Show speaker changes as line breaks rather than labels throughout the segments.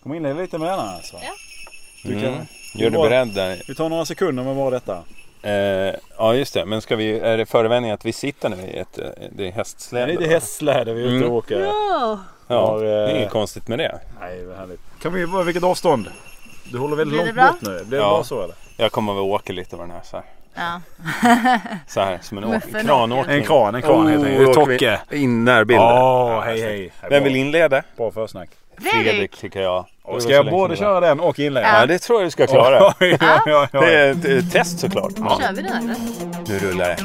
Ska man inleda lite med den här alltså?
Ja.
Du kan,
Mm. Gör dig
Bra.
beredd där.
Vi tar några sekunder med bara detta.
Eh, ja just det, men ska vi, är det förevändning att vi sitter nu i ett, eh, det är hästsläde?
Nej, det är
va?
hästläder vi är ute
Mm.
och åker.
Ja,
Ja,
Har,
det är
eh,
inget konstigt med det.
Nej, vad härligt. Kan vi, vad- vilket avstånd? Du håller väldigt
Blir det
långt
bra?
bort nu. Blir det
Ja.
bra så eller?
Jag kommer väl åka lite med den här så här.
ja.
Så här som en åk-
Muffen.
kranåkning. Oh,
En kran, en kran helt enkelt. Då åker vi-
Tocke. In närbilden.
Åh, hej hej.
Vem vill inleda?
Bra försnack.
Fredrik.
tycker jag.
Och ska jag både köra den och inleda?
Ja, det tror jag du ska klara.
Oj, oj, oj, oj.
Det är ett, ett test såklart.
kör vi den eller?
Nu rullar det.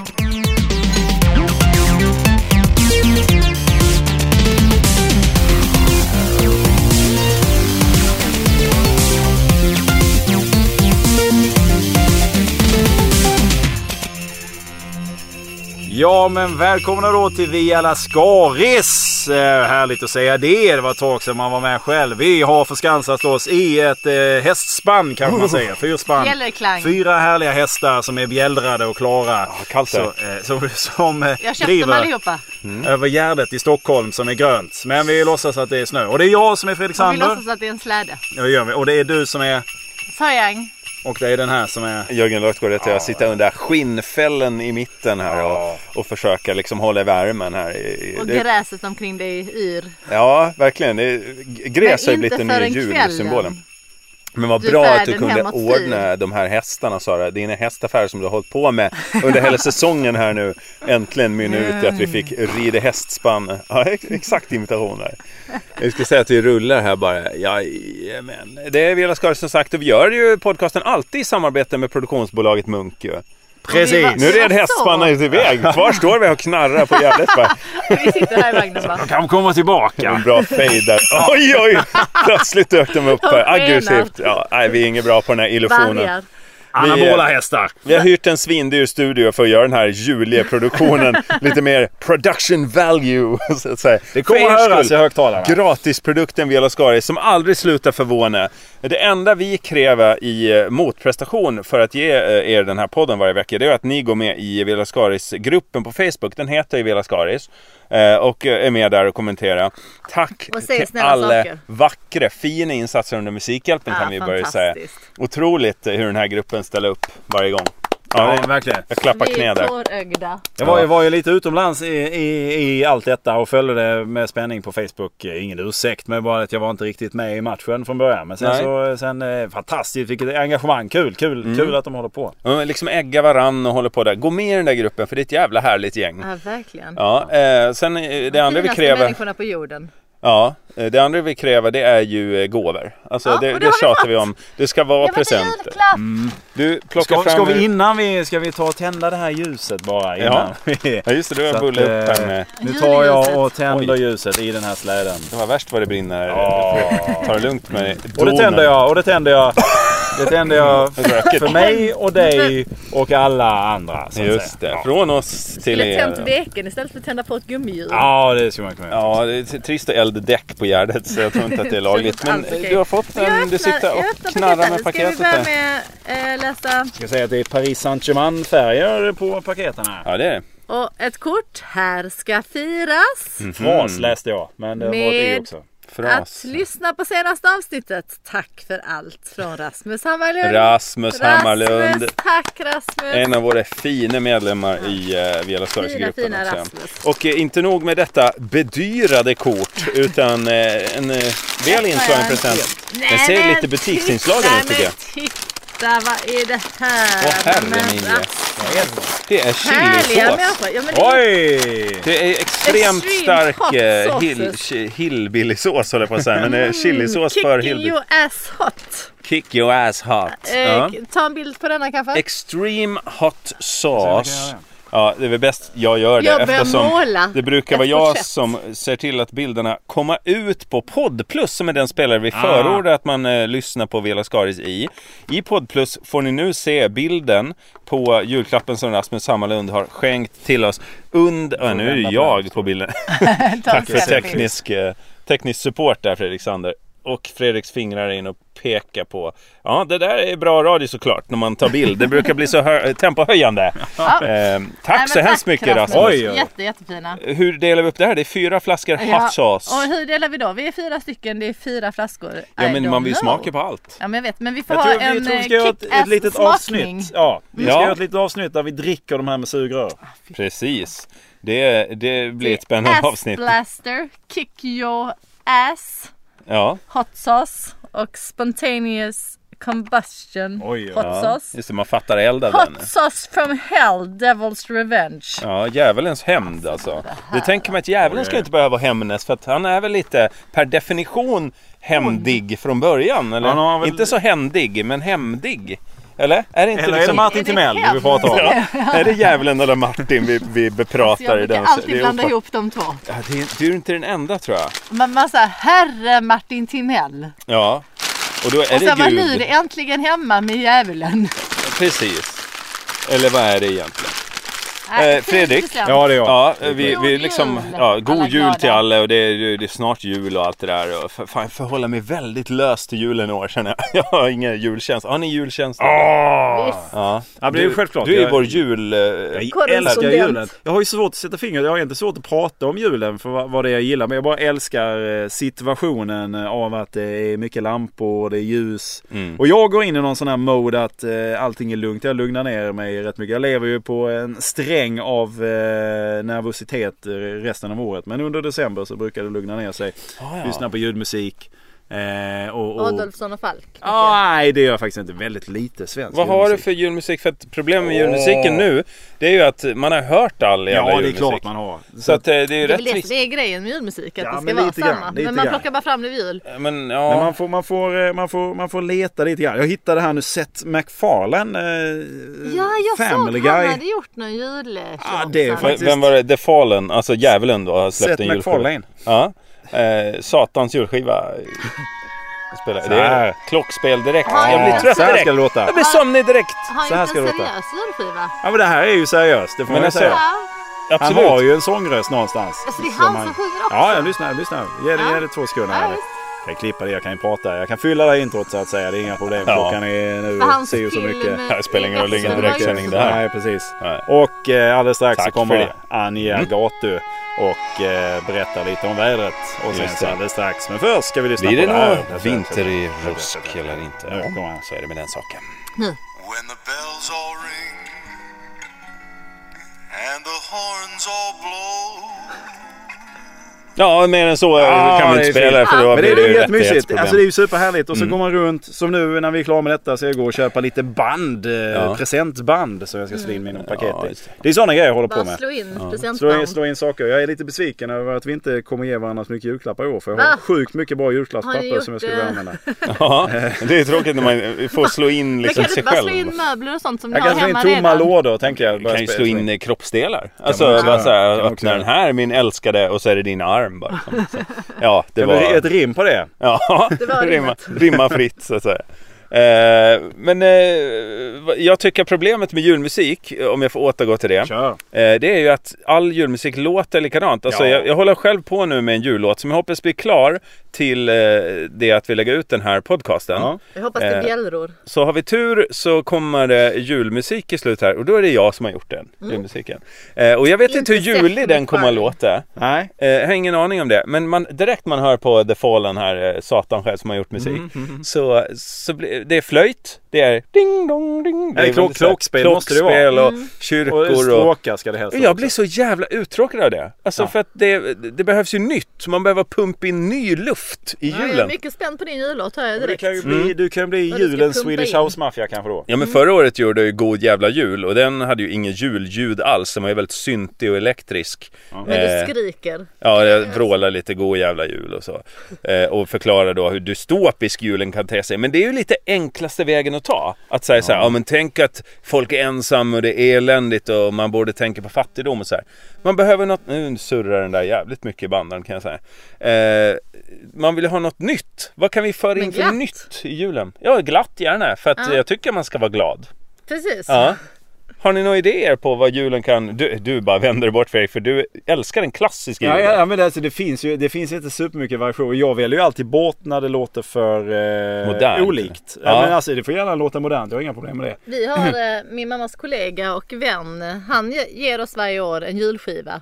Ja, men välkomna då till Via Lascaris. Eh, härligt att säga det. Det var ett tag sedan man var med själv. Vi har förskansat oss i ett eh, hästspann kanske man säger. Fyrspann.
Bjällerklang.
Fyra härliga hästar som är bjällrade och klara.
kallt
så,
är
eh, som som eh,
Jag köpte dem
driver Mm.
allihopa.
över gärdet i Stockholm som är grönt. Men vi låtsas att det är snö. Och det är jag som är Fredrik
Och vi
Sander.
låtsas att det är en släde.
Ja, det gör vi. Och det är du som är...
Sörjang.
Och det är den här som är...
Jörgen Lötgård heter jag. Sitter under skinnfällen i mitten här
Ja.
och, och försöker liksom hålla i värmen här. i- i-
Och
det-
gräset omkring dig yr.
Ja, verkligen. Det, gräs
Men
har ju blivit
inte
den nya
förrän
julsymbolen.
kvällen.
Men vad
Du
bra att
färden
du kunde
hemåt
ordna de här hästarna Sara. Dina hästaffärer som du har hållit på med under hela säsongen här nu. Äntligen mynnar ut i att vi
Mm.
fick rida hästspann. Ja, ex- exakt imitation där. Jag ska säga att vi rullar här bara. Jajamän. Det är Vela Skara som sagt och vi gör ju podcasten alltid i samarbete med produktionsbolaget Munk ju.
Precis!
Nu red
Jaså?
hästspanna ut iväg. Kvar står vi och knarrar på gärdet bara.
Vi sitter här i vagnen bara.
Kan komma tillbaka.
En bra fade där. Oj, oj! Plötsligt dök de upp här.
De skenar.
Aggressivt. Ja, nej, vi är inget bra på den här illusionen.
Vargar.
Anabola hästar.
Vi har hyrt en svindyr studio för att göra den här julieproduktionen lite mer production value. Så att säga.
Det kommer
För er
att höras i
skull.
högtalarna.
Gratisprodukten Vela Skari som aldrig slutar förvåna. Det enda vi kräver i eh, motprestation för att ge eh, er den här podden varje vecka det är att ni går med i Vela Skaris-gruppen på Facebook. Den heter ju Vela Skaris. eh, Och eh, är med där och kommenterar. Tack
Och säger
till
snälla
alla
saker.
vackra, fina insatser under Musikhjälpen
Ja,
kan vi börja säga.
fantastiskt.
Otroligt eh, hur den här gruppen ställer upp varje gång. Ja,
Ja, verkligen.
jag klappar
Vi
knä
är
där.
tårögda.
Jag var,
Ja.
jag var ju lite utomlands i, i, i allt detta och följde det med spänning på Facebook. Eh, Ingen ursäkt, men bara att jag var inte riktigt med i matchen från början. Men sen
Nej. Mm.
så, sen, eh, fantastiskt, vilket engagemang. Kul, kul, kul att de håller på.
Ja, men liksom ägga varann och håller på där. Gå med i den där gruppen för det är ett jävla härligt gäng.
Ja, verkligen.
Ja, eh, sen eh, det andra vi
Finaste
kräver,
människorna på jorden.
ja, eh, det andra vi kräver det är ju eh, gåvor. Alltså
Ja, och
det,
det
det
har vi
tjatar
fått.
vi om. Det ska vara
Jag vill ha
presenter.
julklapp!
Du plockar
Ska,
fram...
ska vi innan vi, ska vi ta och tända det här ljuset bara? Innan vi,
Ja just det,
Så
du har
att,
bullat upp här
eh,
med...
nu tar jag och tänder
Oj.
ljuset i den här släden.
Det var värst vad det brinner.
Ja.
Ta det lugnt med
Och det
donen.
tänder jag, och det tänder jag. Det tänder jag
Röket.
för mig och dig och alla andra. Så att
Just
säga.
det, från oss till
Skulle tänt
er.
veken istället för att tända på ett gummihjul.
Ja, det skulle man kunna göra.
Ja, det är trist att elda däck på Gärdet så jag tror inte att det är lagligt. Men
Allt okej.
du har fått
Jag
en,
öppnar-
du sitter
jag
och
öppnar
knarrar med
Ska vi
paketet
börja
där.
med eh, läsa
Jag ska säga att det är Paris Saint-Germain färger på paketen här.
Ja, det är det.
och ett kort. Här ska firas.
Mm.
Fras läste jag, men det var ett i
Med-
också.
Fras.
Att lyssna på senaste avsnittet. Tack för allt från Rasmus Hammarlund.
Rasmus Hammarlund.
Rasmus, tack Rasmus.
En av våra fina medlemmar i uh, Vela Sörjegruppen.
Fina, fina
också.
Rasmus.
Och eh, inte nog med detta bedyrade kort utan eh, en eh, väl inslagen present.
Nej,
Den ser
men
lite butiksinslagen
titta,
ut tycker jag.
men Titta, vad är det här?
Åh, herre
Men,
min, ja.
alltså,
Det är
Härliga
chilisås.
människor. Ja, men det är
Oj!
Det är extremt
Extreme
stark
hot
eh,
sauces.
hill, chi- hillbillysås håller jag på att säga. Men det är chilisås för
Kicking
hillbilly.
Mm, your ass hot.
Kick your ass hot.
Eh,
Ja.
Ta en bild på denna kanske.
Extreme hot
Så
sauce.
mycket
Ja, det är väl bäst jag gör det
Jag börjar
eftersom
måla
det brukar vara
ett
jag
porträtt.
som ser till att bilderna kommer ut på Poddplus som är den spelare vi förordar att man eh, lyssnar på Vela Skaris i. I Poddplus får ni nu se bilden på julklappen som Rasmus Hammarlund har skänkt till oss under... Ja, nu är ju
vända på
jag på bilden.
Ta en
Tack för
selfie.
teknisk, eh, teknisk support där Fredrik Sander. och Fredriks fingrar in och pekar på. Ja, det där är bra radio såklart när man tar bild. Det brukar bli så hö- tempohöjande.
Ja.
Eh,
Nej, men
tack så hemskt mycket Rasmus.
Oj, oj, oj.
Jätte, jättefina.
Hur delar vi upp det här? Det är fyra flaskor hot sauce.
och hur delar vi då? Vi är fyra stycken, det är fyra flaskor.
Ja,
I
men
don't
man vill
know.
smaka på allt.
Ja, men jag vet. Men vi får
Jag
ha
tror,
en
jag tror vi ska
eh,
göra ett, ett
kick-ass
litet
smakning.
avsnitt. Ja, vi ska
Ja.
göra ett litet avsnitt där vi dricker de här med sugrör.
Precis. Det, det blir ett
ass
spännande avsnitt.
blaster, kick your ass,
Ja,
hot sauce och spontaneous combustion
Oj,
hot
ja.
sauce.
just det. Man fattar eld av den.
Hot sauce from hell, devil's revenge.
Ja, djävulens hämnd alltså. Det tänker man att djävulen ska inte behöva hämnas för att han är väl lite per definition hämndig från början. Eller?
Han har väl-
Inte så händig, men hämndig. Eller? Är det inte
Eller är det
liksom...
Martin
Är det
Timell vi
hem?
pratar om?
Ja. Är det djävulen eller Martin vi, vi
Så Alltså, jag
bepratar i
brukar
den?
alltid
det är
blanda
ofatt-
ihop de två.
Ja, det är, du är inte den enda tror jag.
Men man säger herre Martin Timell.
Ja. Och då är
Och sen
det
var
Gud.
Nyr äntligen hemma med djävulen.
Precis. Eller vad är det egentligen?
Nej,
Eh, Fredrik?
Christian.
Ja, det är jag.
Ja, vi,
God
vi
jul.
liksom, ja, god
Alla
jul
glada.
till alla och det är, det är snart jul och allt det där. Och för, fan, jag förhåller mig väldigt löst till julen i år känner jag. Jag har ingen julkänsla. Har ni julkänsla?
Åh!
Ja.
Ja, men det är ju
Du-
självklart.
Du är
Jag-
vår jul... eh,
Jag älskar
Korrespondent.
julen. Jag har ju svårt att sätta fingret. Jag har inte svårt att prata om julen för vad vad det är jag gillar. Men jag bara älskar eh, situationen eh, av att det är mycket lampor och det är ljus.
Mm.
Och jag går in i någon sån här mode att eh, allting är lugnt. Jag lugnar ner mig rätt mycket. Jag lever ju på en sträng av eh, nervositet eh, resten av året. Men under december så brukar det lugna ner sig.
Ah, ja.
Lyssna på ljudmusik. Eh, och,
Oh.
och...
Adolfsson och Falk.
Ah, nej, det gör jag faktiskt inte. Väldigt lite svensk
Vad har du
julmusik.
för julmusik? För att problemet med julmusiken nu, det är ju att man har hört all jävla
Ja, det är
julmusik.
klart man har.
Så att eh, det är ju
Det är väl
rätt
det,
trist.
det är grejen med julmusik, att
Ja,
det ska
men
vara
lite grann,
samma.
lite
men man
grann.
plockar bara fram det vid jul.
Men
Men
ja,
man, får, man, får, eh, man, får, man får leta lite grann. Jag hittade här nu Seth MacFarlane. eh,
Ja, jag såg
Family
att han
Guy.
hade gjort någon julshow.
Ah, det är
sen.
faktiskt-
vem var det? The Fallen, alltså djävulen då, har släppt
Seth
en julskiva.
MacFarlane.
Ja. Eh, satans julskiva. Spelar. Det är klockspel direkt. Jag blir trött
Så här ska det
direkt.
låta.
Jag blir sömnig direkt.
Har
Så här
inte
ska
en
det låta.
seriös julskiva.
Ja men det här är ju seriöst. Det får man
Men
ju
alltså,
säga.
Ja,
Han
Absolut.
har ju en sångröst någonstans.
alltså det är
Som
han som sjunger också.
Ja, jag lyssnar. Jag lyssnar. Ge det,
Ja.
ge det två sekunder.
Ja,
här.
visst.
Jag kan klippa det. Jag kan ju prata. Jag kan fylla det här introt så att säga. Det är inga problem.
Ja.
Klockan är nu
För hans
si och så
film
mycket.
Det spelar ingen roll,
i Västern
ingen direkt
var ju
sändning
så
det här.
Nej, precis.
Nej.
Och eh, alldeles strax
Tack
så
för
kommer
det. Mm.
Anja Gatu och eh, berätta lite om vädret. Och sen
Just
så
det.
alldeles strax. Men först ska vi lyssna
Blir det
på det här.
någon vinter i rusk eller inte?
Ja, kom igen.
Så är det med den saken.
When the bells all ring and the horns all blow.
Ja, mer än så eh,
Ja,
kan man
det
inte
är fint.
spela för då
Men det
blir
är ju
det ju Mm.
jättemysigt.
rättighetsproblem.
Alltså det är ju superhärligt. Och så går man runt. Som nu när vi är klara med detta så jag går och köper lite band. Eh, Presentband. Så jag ska slå in mina paket
Mm. Ja,
i.
just
Det är sådana grejer jag håller på
Bara
med.
slå in
Slå in,
presentband.
slå in saker. Jag är lite besviken över att vi inte kommer ge varandra så mycket julklappar i år. För jag har
Va?
sjukt mycket bra
Ah. Har ni
julklappspapper
gjort
som jag skulle vilja
det?
använda.
Ja, det är tråkigt när man får slå in
Men
liksom
kan du
sig
inte bara slå
själv.
in möbler och sånt som ni
Jag
har
kan slå in
hemma
tomma
redan?
lådor tänker jag.
Du kan ju slå in eh, kroppsdelar. Alltså
man också
bara
göra.
så här,
Kan man också
öppna den
göra.
här min älskade och så är det din arm bara. liksom. Så, ja, det
Det var...
var...
Ett rim på det.
Ja,
var
rimma,
rimmet.
rimma fritt så att säga. Eh, men eh, vad- jag tycker problemet med julmusik, om jag får återgå till det.
Kör.
Eh, Det är ju att all julmusik låter likadant. Alltså
Ja.
jag, jag håller själv på nu med en jullåt som jag hoppas blir klar till eh, det att vi lägger ut den här podcasten.
Ja.
Jag hoppas det är
Eh,
bjällror.
Så har vi tur så kommer det julmusik i slut här och då är det jag som har gjort den julmusiken. Eh, och jag vet inte,
Mm. Inte
hur julig
Stephanie
den kommer
Farley.
att låta. Eh,
Nej.
jag har ingen aning om det. Men man, direkt man hör på The Fallen här, eh, Satan själv som har gjort musik. Så, så blir- det är flöjt, det är ding dong ding.
Eller
är
klock-
väldigt så här
klockspel måste det vara.
klockspel
Mm.
och
Och det är
kyrkor. Och,
stråkar ska det helst
jag blir så jävla uttråkad av det. Alltså
Ja.
för att det, det behövs ju nytt. Man behöver pumpa in ny luft i
Ja, jag är
julen.
mycket spänd på din jullåt hör jag
Du
direkt.
kan ju bli, du kan bli
Ja, du ska
julens
pumpa
Swedish
in.
House Mafia kanske då.
Ja
Mm.
men förra året gjorde jag ju God Jävla Jul och den hade ju ingen julljud alls. Den var ju väldigt syntig och elektrisk.
Men
Eh,
du skriker.
Ja, jag vrålar lite god jävla jul och så. Eh, och förklarar då hur dystopisk julen kan te sig. Men det är ju lite enklaste vägen att ta. Att säga så här, ja men tänk att folk är ensamma och det är eländigt och man borde tänka på fattigdom och så här. Man behöver något, nu surrar den där jävligt mycket i bandaren kan jag säga. Eh, man vill ju ha något nytt. Vad kan vi föra in
Men
för
glatt.
nytt i julen? Ja, glatt gärna. För att
Ja.
jag tycker man ska vara glad.
Precis.
Ja. Har ni några idéer på vad julen kan... Du, du bara vänder dig bort Fredrik, för du älskar den klassiska
Ja,
julen.
ja, ja, men alltså, det finns ju det finns inte supermycket variation. Jag väljer ju alltid bort när det låter för eh,
Modernt.
olikt. Ja.
Ja.
men alltså, det får gärna låta modernt, jag har inga problem med det.
Vi har eh, min mammas kollega och vän. Han ge- ger oss varje år en julskiva.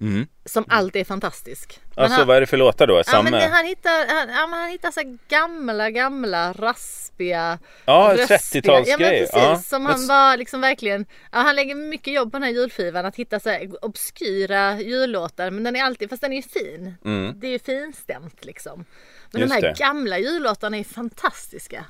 Mm.
Som alltid är fantastisk. Men
Alltså
han-
vad är det för låtar då?
Ja, men
Samme?
det, han hittar, han, ja, men han hittar så här gamla, gamla, raspiga,
Ja,
röspiga-
30-talsgrej.
Ja, men precis.
Ja.
Som
Men-
han var liksom verkligen, ja, han lägger mycket jobb på den här julskivan att hitta så här obskyra jullåtar. Men den är alltid, fast den är ju fin. Det är ju finstämt liksom. Men
Mm. Just
de här
det.
gamla jullåtarna är fantastiska.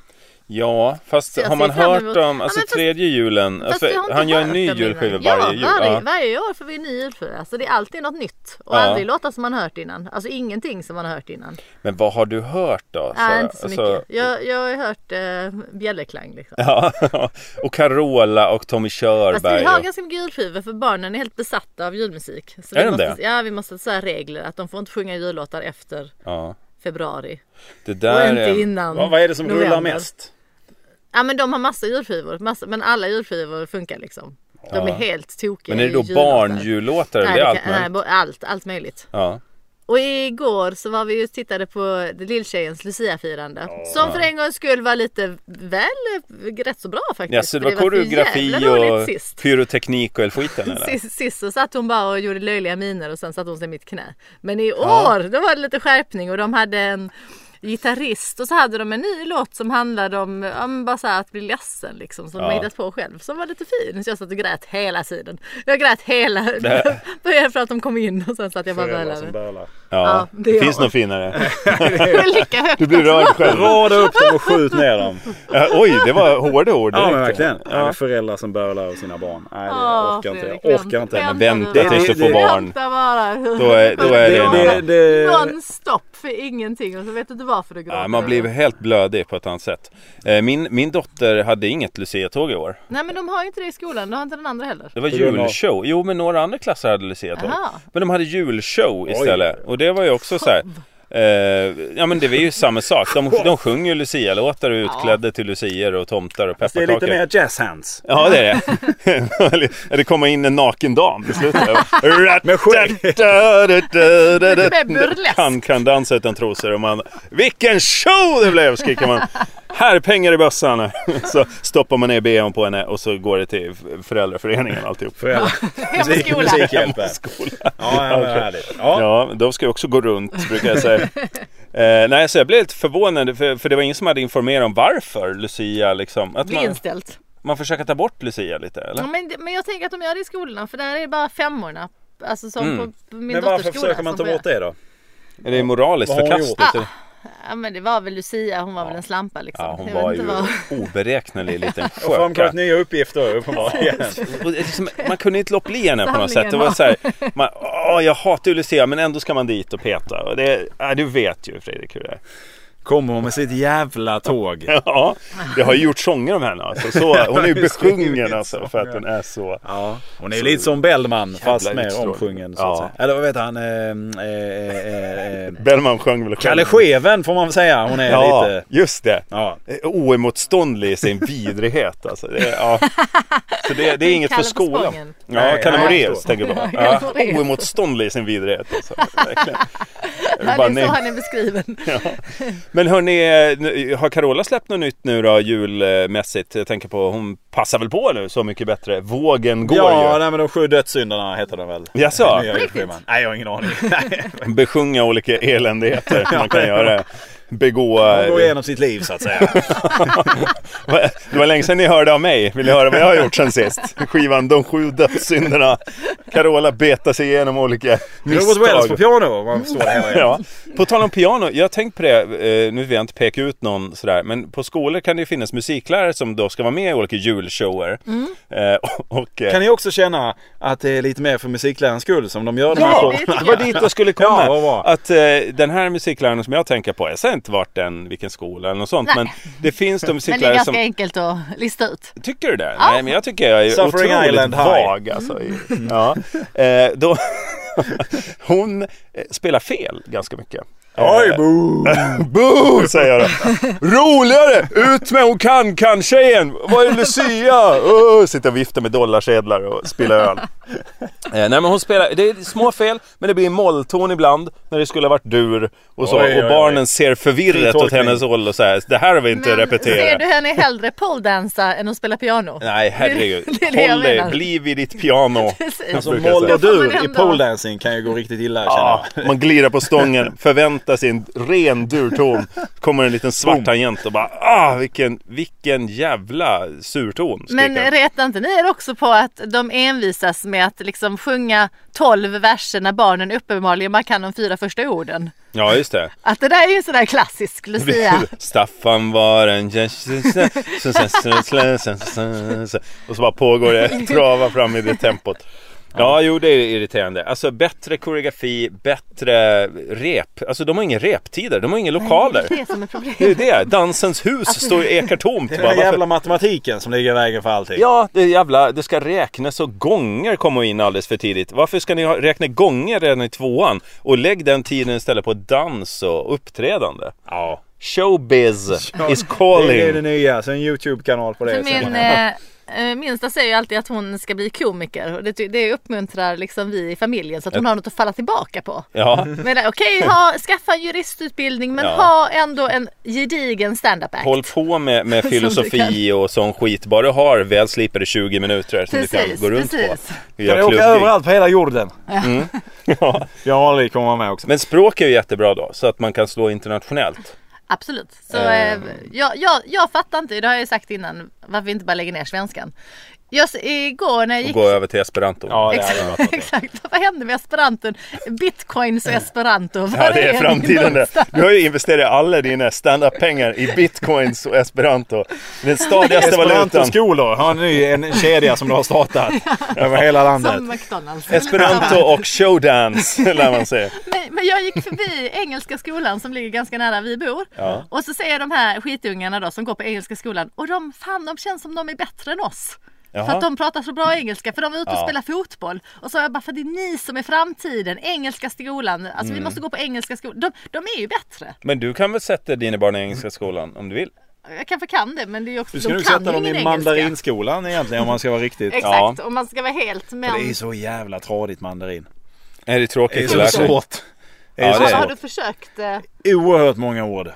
Ja, fast
Så jag
har man
ser fram
hört
emot-
dem,
Ja,
alltså
men fast-
tredje julen,
Fast
alltså,
jag har inte
han gör en
hört
ny
dem innan.
julskiva varje jul.
Ja, varje,
Ja.
varje år får vi en ny julskiva. Så det är alltid något nytt. Och
Ja.
aldrig låtar som man hört innan. Alltså ingenting som man har hört innan.
Men vad har du hört då?
Nej,
Så-
inte så
alltså-
mycket. Jag, jag har hört eh, bjällerklang liksom.
Ja, och Carola och Tommy
Fast vi
Körberg.
har
och-
ganska mycket julskivor för barnen är helt besatta av julmusik. Så
Är
vi
de
måste,
det?
Ja, vi måste säga regler att de får inte sjunga jullåtar efter
ja.
februari.
Det där
Och inte
är-
innan
Vad, vad är det som rullar
november.
mest?
Ja men de har massa julskivor, massa, men alla julskivor funkar liksom. De är helt tokiga
Men är det
i
då
jullåtar.
barnjullåtar?
Nej,
eller
det
allt
kan, nej,
möjligt?
bo- allt, allt möjligt.
Ja.
Och igår så var vi ju och tittade på Lilltjejens Luciafirande. Som för en gångs skull var lite väl, rätt så bra faktiskt.
Ja, så det
För
var
för
koreografi
jävla roligt
och
sist.
pyroteknik och hela skiten eller?
Sist, sist så satt hon bara och gjorde löjliga miner och sen satt hon sig i mitt knä. Men i år då var det lite skärpning och de hade en gitarrist och så hade de en ny låt som handlade om, ja, men bara så här att bli ledsen liksom som de hittat på själv som var lite fin. Så jag satt och grät hela tiden. Jag grät hela, började för att de kom in och sen satt jag bara och
Föräldrar som
bölade.
bölar.
Ja,
det
det
är
finns
jag. Alltså,
något finare.
Lika högt.
Du blir rörd själv.
Rada upp dem och skjut ner dem.
Ja, Oj, det var hårda ord.
Ja
direkt.
men verkligen. Ja. Föräldrar som bölar över sina barn. Nej det
Ja,
orkar inte. Jag
Fredrik,
orkar inte.
vänta.
Men
Vänta
Det-
tills
det-
du får
det-
barn.
Vänta bara.
Då är, då är det,
Det, det, det,
Non-stop för ingenting och så vet du inte varför du gråter.
Ja, man blir helt blödig på ett annat sätt. Eh, Min, min dotter hade inget luciatåg i år.
Nej men de har ju inte det i skolan, det har inte den andra heller.
Det var
grund av-
julshow. Jo, men några andra klasser hade luciatåg.
Aha.
Men de hade julshow istället. Och det var ju också så här. Eh, ja men det var ju samma sak. De, de sjunger ju lucialåtar och är utklädda till lucier och tomtar och
det är lite
pepparkakor.
mer jazz hands.
Ja det är det. det kommer in en naken dam i slutet.
Med skägg.
mer burlesk.
Han kan dansa utan trosor och man Vilken show det blev skriker man. Här är pengar i bössan. Så stoppar man ner ben på henne och så går det till föräldraföreningen alltihop.
Föräldrar.
Hem och skola.
Musikhjälpen.
Skola.
Ja, ja men härligt. Ja.
Ja, de ska ju också gå runt brukar jag säga. Eh, nej, så jag blev lite förvånad för, för det var ingen som hade informerat om varför Lucia liksom. Att
Bli
man,
inställt.
man försöker ta bort Lucia lite eller?
Ja, men, det- men jag tänker att de gör det i skolorna för där är det bara femmorna. Alltså
Mm.
som på på min
Men
dotters
varför
skola.
försöker man ta
som
bort
börjar-
det då?
Är det moraliskt
Vad har hon
förkastligt? eller?
Ja men det var väl Lucia, hon var väl en slampa liksom.
Ja, hon
Jag
var
vet
ju
inte vad-
oberäknelig liten
Och framkommit
sköka.
nya uppgifter uppenbarligen.
Och det är liksom, man kunde inte låta bli henne på något sätt. Det var
Samlingen.
så här, man, åh, jag hatar ju Lucia men ändå ska man dit och peta. Och det, ja, du vet ju Fredrik hur det är.
Kommer hon med sitt jävla tåg.
Ja, det har ju gjort sånger om henne. Alltså, så, hon är ju
Det är så
besjungen
mycket
alltså, för att hon är så...
Ja, hon är ju lite som Bellman fast mer
utstrålning.
omsjungen. Så
Ja.
att säga. Eller vad heter han? Eh, eh, eh, eh,
Bellman sjöng väl själv.
Kalle Scheven får man väl säga. Hon är
Ja,
lite...
just det.
Ja.
Oemotståndlig i sin vidrighet. Alltså. Det, är- ja. Så det, det är inget för
Kalle på
skolan.
Spången.
Ja,
Nej,
Kalle
nej,
Moraeus
förstår.
tänker jag på.
Kalle
Ja,
Moraeus.
oemotståndlig i sin vidrighet. Alltså. Verkligen. Jag vill
Han
bara
är så
nämna-
han är beskriven.
Men hörni, eh, nu- har Carola släppt något nytt nu då julmässigt? Jag tänker på, hon passar väl på nu Så Mycket Bättre. Vågen går
ja,
ju.
nej, men de sju dödssyndarna heter den väl?
Jaså?
Nya
riktigt?
Scheman. Nej, jag har ingen aning. Nej,
Besjunga olika eländigheter man kan göra. Begå...
Hon går igenom sitt liv så att säga.
Va- Det var länge sedan ni hörde av mig. Vill ni höra vad jag har gjort sen sist? Skivan De sju dödssynderna. Carola betar sig igenom olika
Robert Wells på
misstag.
piano om man förstår det hela.
Ja. På tal om piano, jag har tänkt på det, eh, nu vill jag inte peka ut någon sådär, men på skolor kan det ju finnas musiklärare som då ska vara med i olika julshower. Eh, och, och, eh,
Kan ni också känna att det är lite mer för musiklärarens skull som de gör de här
Ja,
showerna?
det var dit jag skulle komma.
Ja, vad bra.
att eh, den här musikläraren som jag tänker på, jag säger inte vart den, vilken skola eller något sånt,
Nej.
men det finns de
Men det är
musiklärare
ganska
som...
enkelt att lista ut.
Tycker du det? Nej, men jag tycker jag är
Suffering
otroligt
Island High.
vag. Alltså. i- Ja. Eh, då hon eh, spelar fel ganska mycket. Oj,
boo!
Boo, säger jag då. Roligare! Ut med hon kan kan-tjejen! Vad är Lucia? Oh, sitter och viftar med dollarsedlar och spilla öl. Eh, nej men hon spelar, det är små fel men det blir mollton ibland när det skulle ha varit dur och så.
Oj, oj, oj.
Och barnen ser förvirrat åt
Fritolkning.
hennes håll och så här. Det här har vi inte
ser
repeterat.
du henne hellre poledansa än att spela piano?
Nej herregud.
Det är det jag
Håll dig,
menar.
bli vid ditt piano.
Precis.
Alltså,
Som moll och
Då får man
dur i
ändå-
poledancing kan ju gå riktigt illa
Ja,
känner jag.
man glirar på stången, förväntar sig en ren durton. Kommer en liten svart tangent och bara ah, vilken, vilken jävla surton. skriker
Men
han.
retar inte ni er också på att de envisas med att liksom sjunga 12 verser när barnen uppenbarligen bara kan de fyra första orden?
Ja, just det.
Att det där är ju en sån där klassisk Lucia.
Staffan var en... Och så bara pågår det, trava fram i det tempot. Ja, jo det är irriterande. Alltså bättre koreografi, bättre rep. Alltså de har inga reptider, de har inga lokaler.
Det är det som är problemet.
Det är ju det, Dansens hus
Alltså,
står och ekar tomt.
Den
Bara,
där
varför-
jävla matematiken som ligger i vägen för allting.
Ja, det är jävla, det ska räknas och gånger komma in alldeles för tidigt. Varför ska ni ha- räkna gånger redan i tvåan? Och lägg den tiden istället på dans och uppträdande.
Ja.
Showbiz is
Det är det
calling.
nya, så en YouTube-kanal på det.
För min eh, eh, minsta säger ju alltid att hon ska bli komiker och det, ty- det uppmuntrar liksom vi i familjen så att hon har något att falla tillbaka på.
Ja,
Men eh, okej, ha- skaffa en juristutbildning men
Ja.
ha ändå en gedigen stand-up act.
håll på med, med
Som du
filosofi och sån skit. Bara du har väl slipade 20 minuter som du kan
Precis,
gå runt
precis.
på.
Jag
Gör
åker
klubbgig.
överallt på hela jorden.
Mm. Ja.
Björn Ranelid kommer med också.
Men språk är ju jättebra då, så att man kan slå internationellt.
Absolut. Så, eh,
Ehm.
jag, jag, jag fattar inte, det har jag ju sagt innan, varför vi inte bara lägger ner svenskan. Jag, s- igår när jag
Och
gick...
gå över till esperanto.
Ja, det är det.
Exakt, exakt, vad hände med esperanton? Bitcoins och esperanto, var
Ja, det är
ni
framtiden det.
någonstans?
Du har ju investerat alla dina standup-pengar i bitcoins och esperanto. Den stadigaste valutan.
Esperantoskolor har en ny en kedja som du har startat över hela landet.
Som McDonalds.
Esperanto och showdance lär man säga.
Men, men jag gick förbi Engelska skolan som ligger ganska nära vi bor.
Ja.
Och så ser jag de här skitungarna då som går på Engelska skolan och de, fan de känns som de är bättre än oss. För
Jaha.
att de pratar så bra engelska för de var ute och
Ja.
spelade fotboll. Och så har jag bara för det är ni som är framtiden, engelska skolan, alltså
Mm.
vi måste gå på engelska skolan. De, de är ju bättre.
Men du kan väl sätta dina barn i Engelska skolan om du vill?
Jag kanske kan det men det är ju också,
Du ska
de
nog
kan
sätta
ju
dem
ingen
i
engelska.
mandarinskolan egentligen om man ska vara riktigt.
Exakt, om man ska vara helt men.
Det är ju så jävla tradigt mandarin.
Är det
Det är
tråkigt att
så
lära sig?
svårt. Det är
Ja,
så
det är
har
svårt.
du försökt? eh,
Oerhört många ord.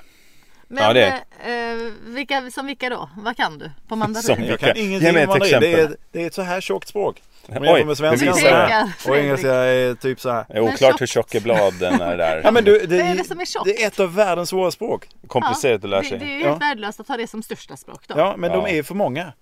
Men
Ja, det
eh, vilka, som vilka då? Vad kan du på mandarin?
Som
Jag
Vilka-
kan ingenting
Ge mig
om
ett
mandarin. Det
exempel.
är, det är ett så här tjockt språk. Om
Oj,
jag jämför med
det
svenskan så
visar
här.
det.
Och engelska är typ så här.
Det är oklart hur tjocka bladen är där.
Ja, men du,
Vad är det som är tjockt?
det är ett av världens svåra språk.
Komplicerat att lära
det, det är
sig.
ju helt
Ja.
värdelöst att ha det som största språk då.
Ja, men
Ja.
de är för många.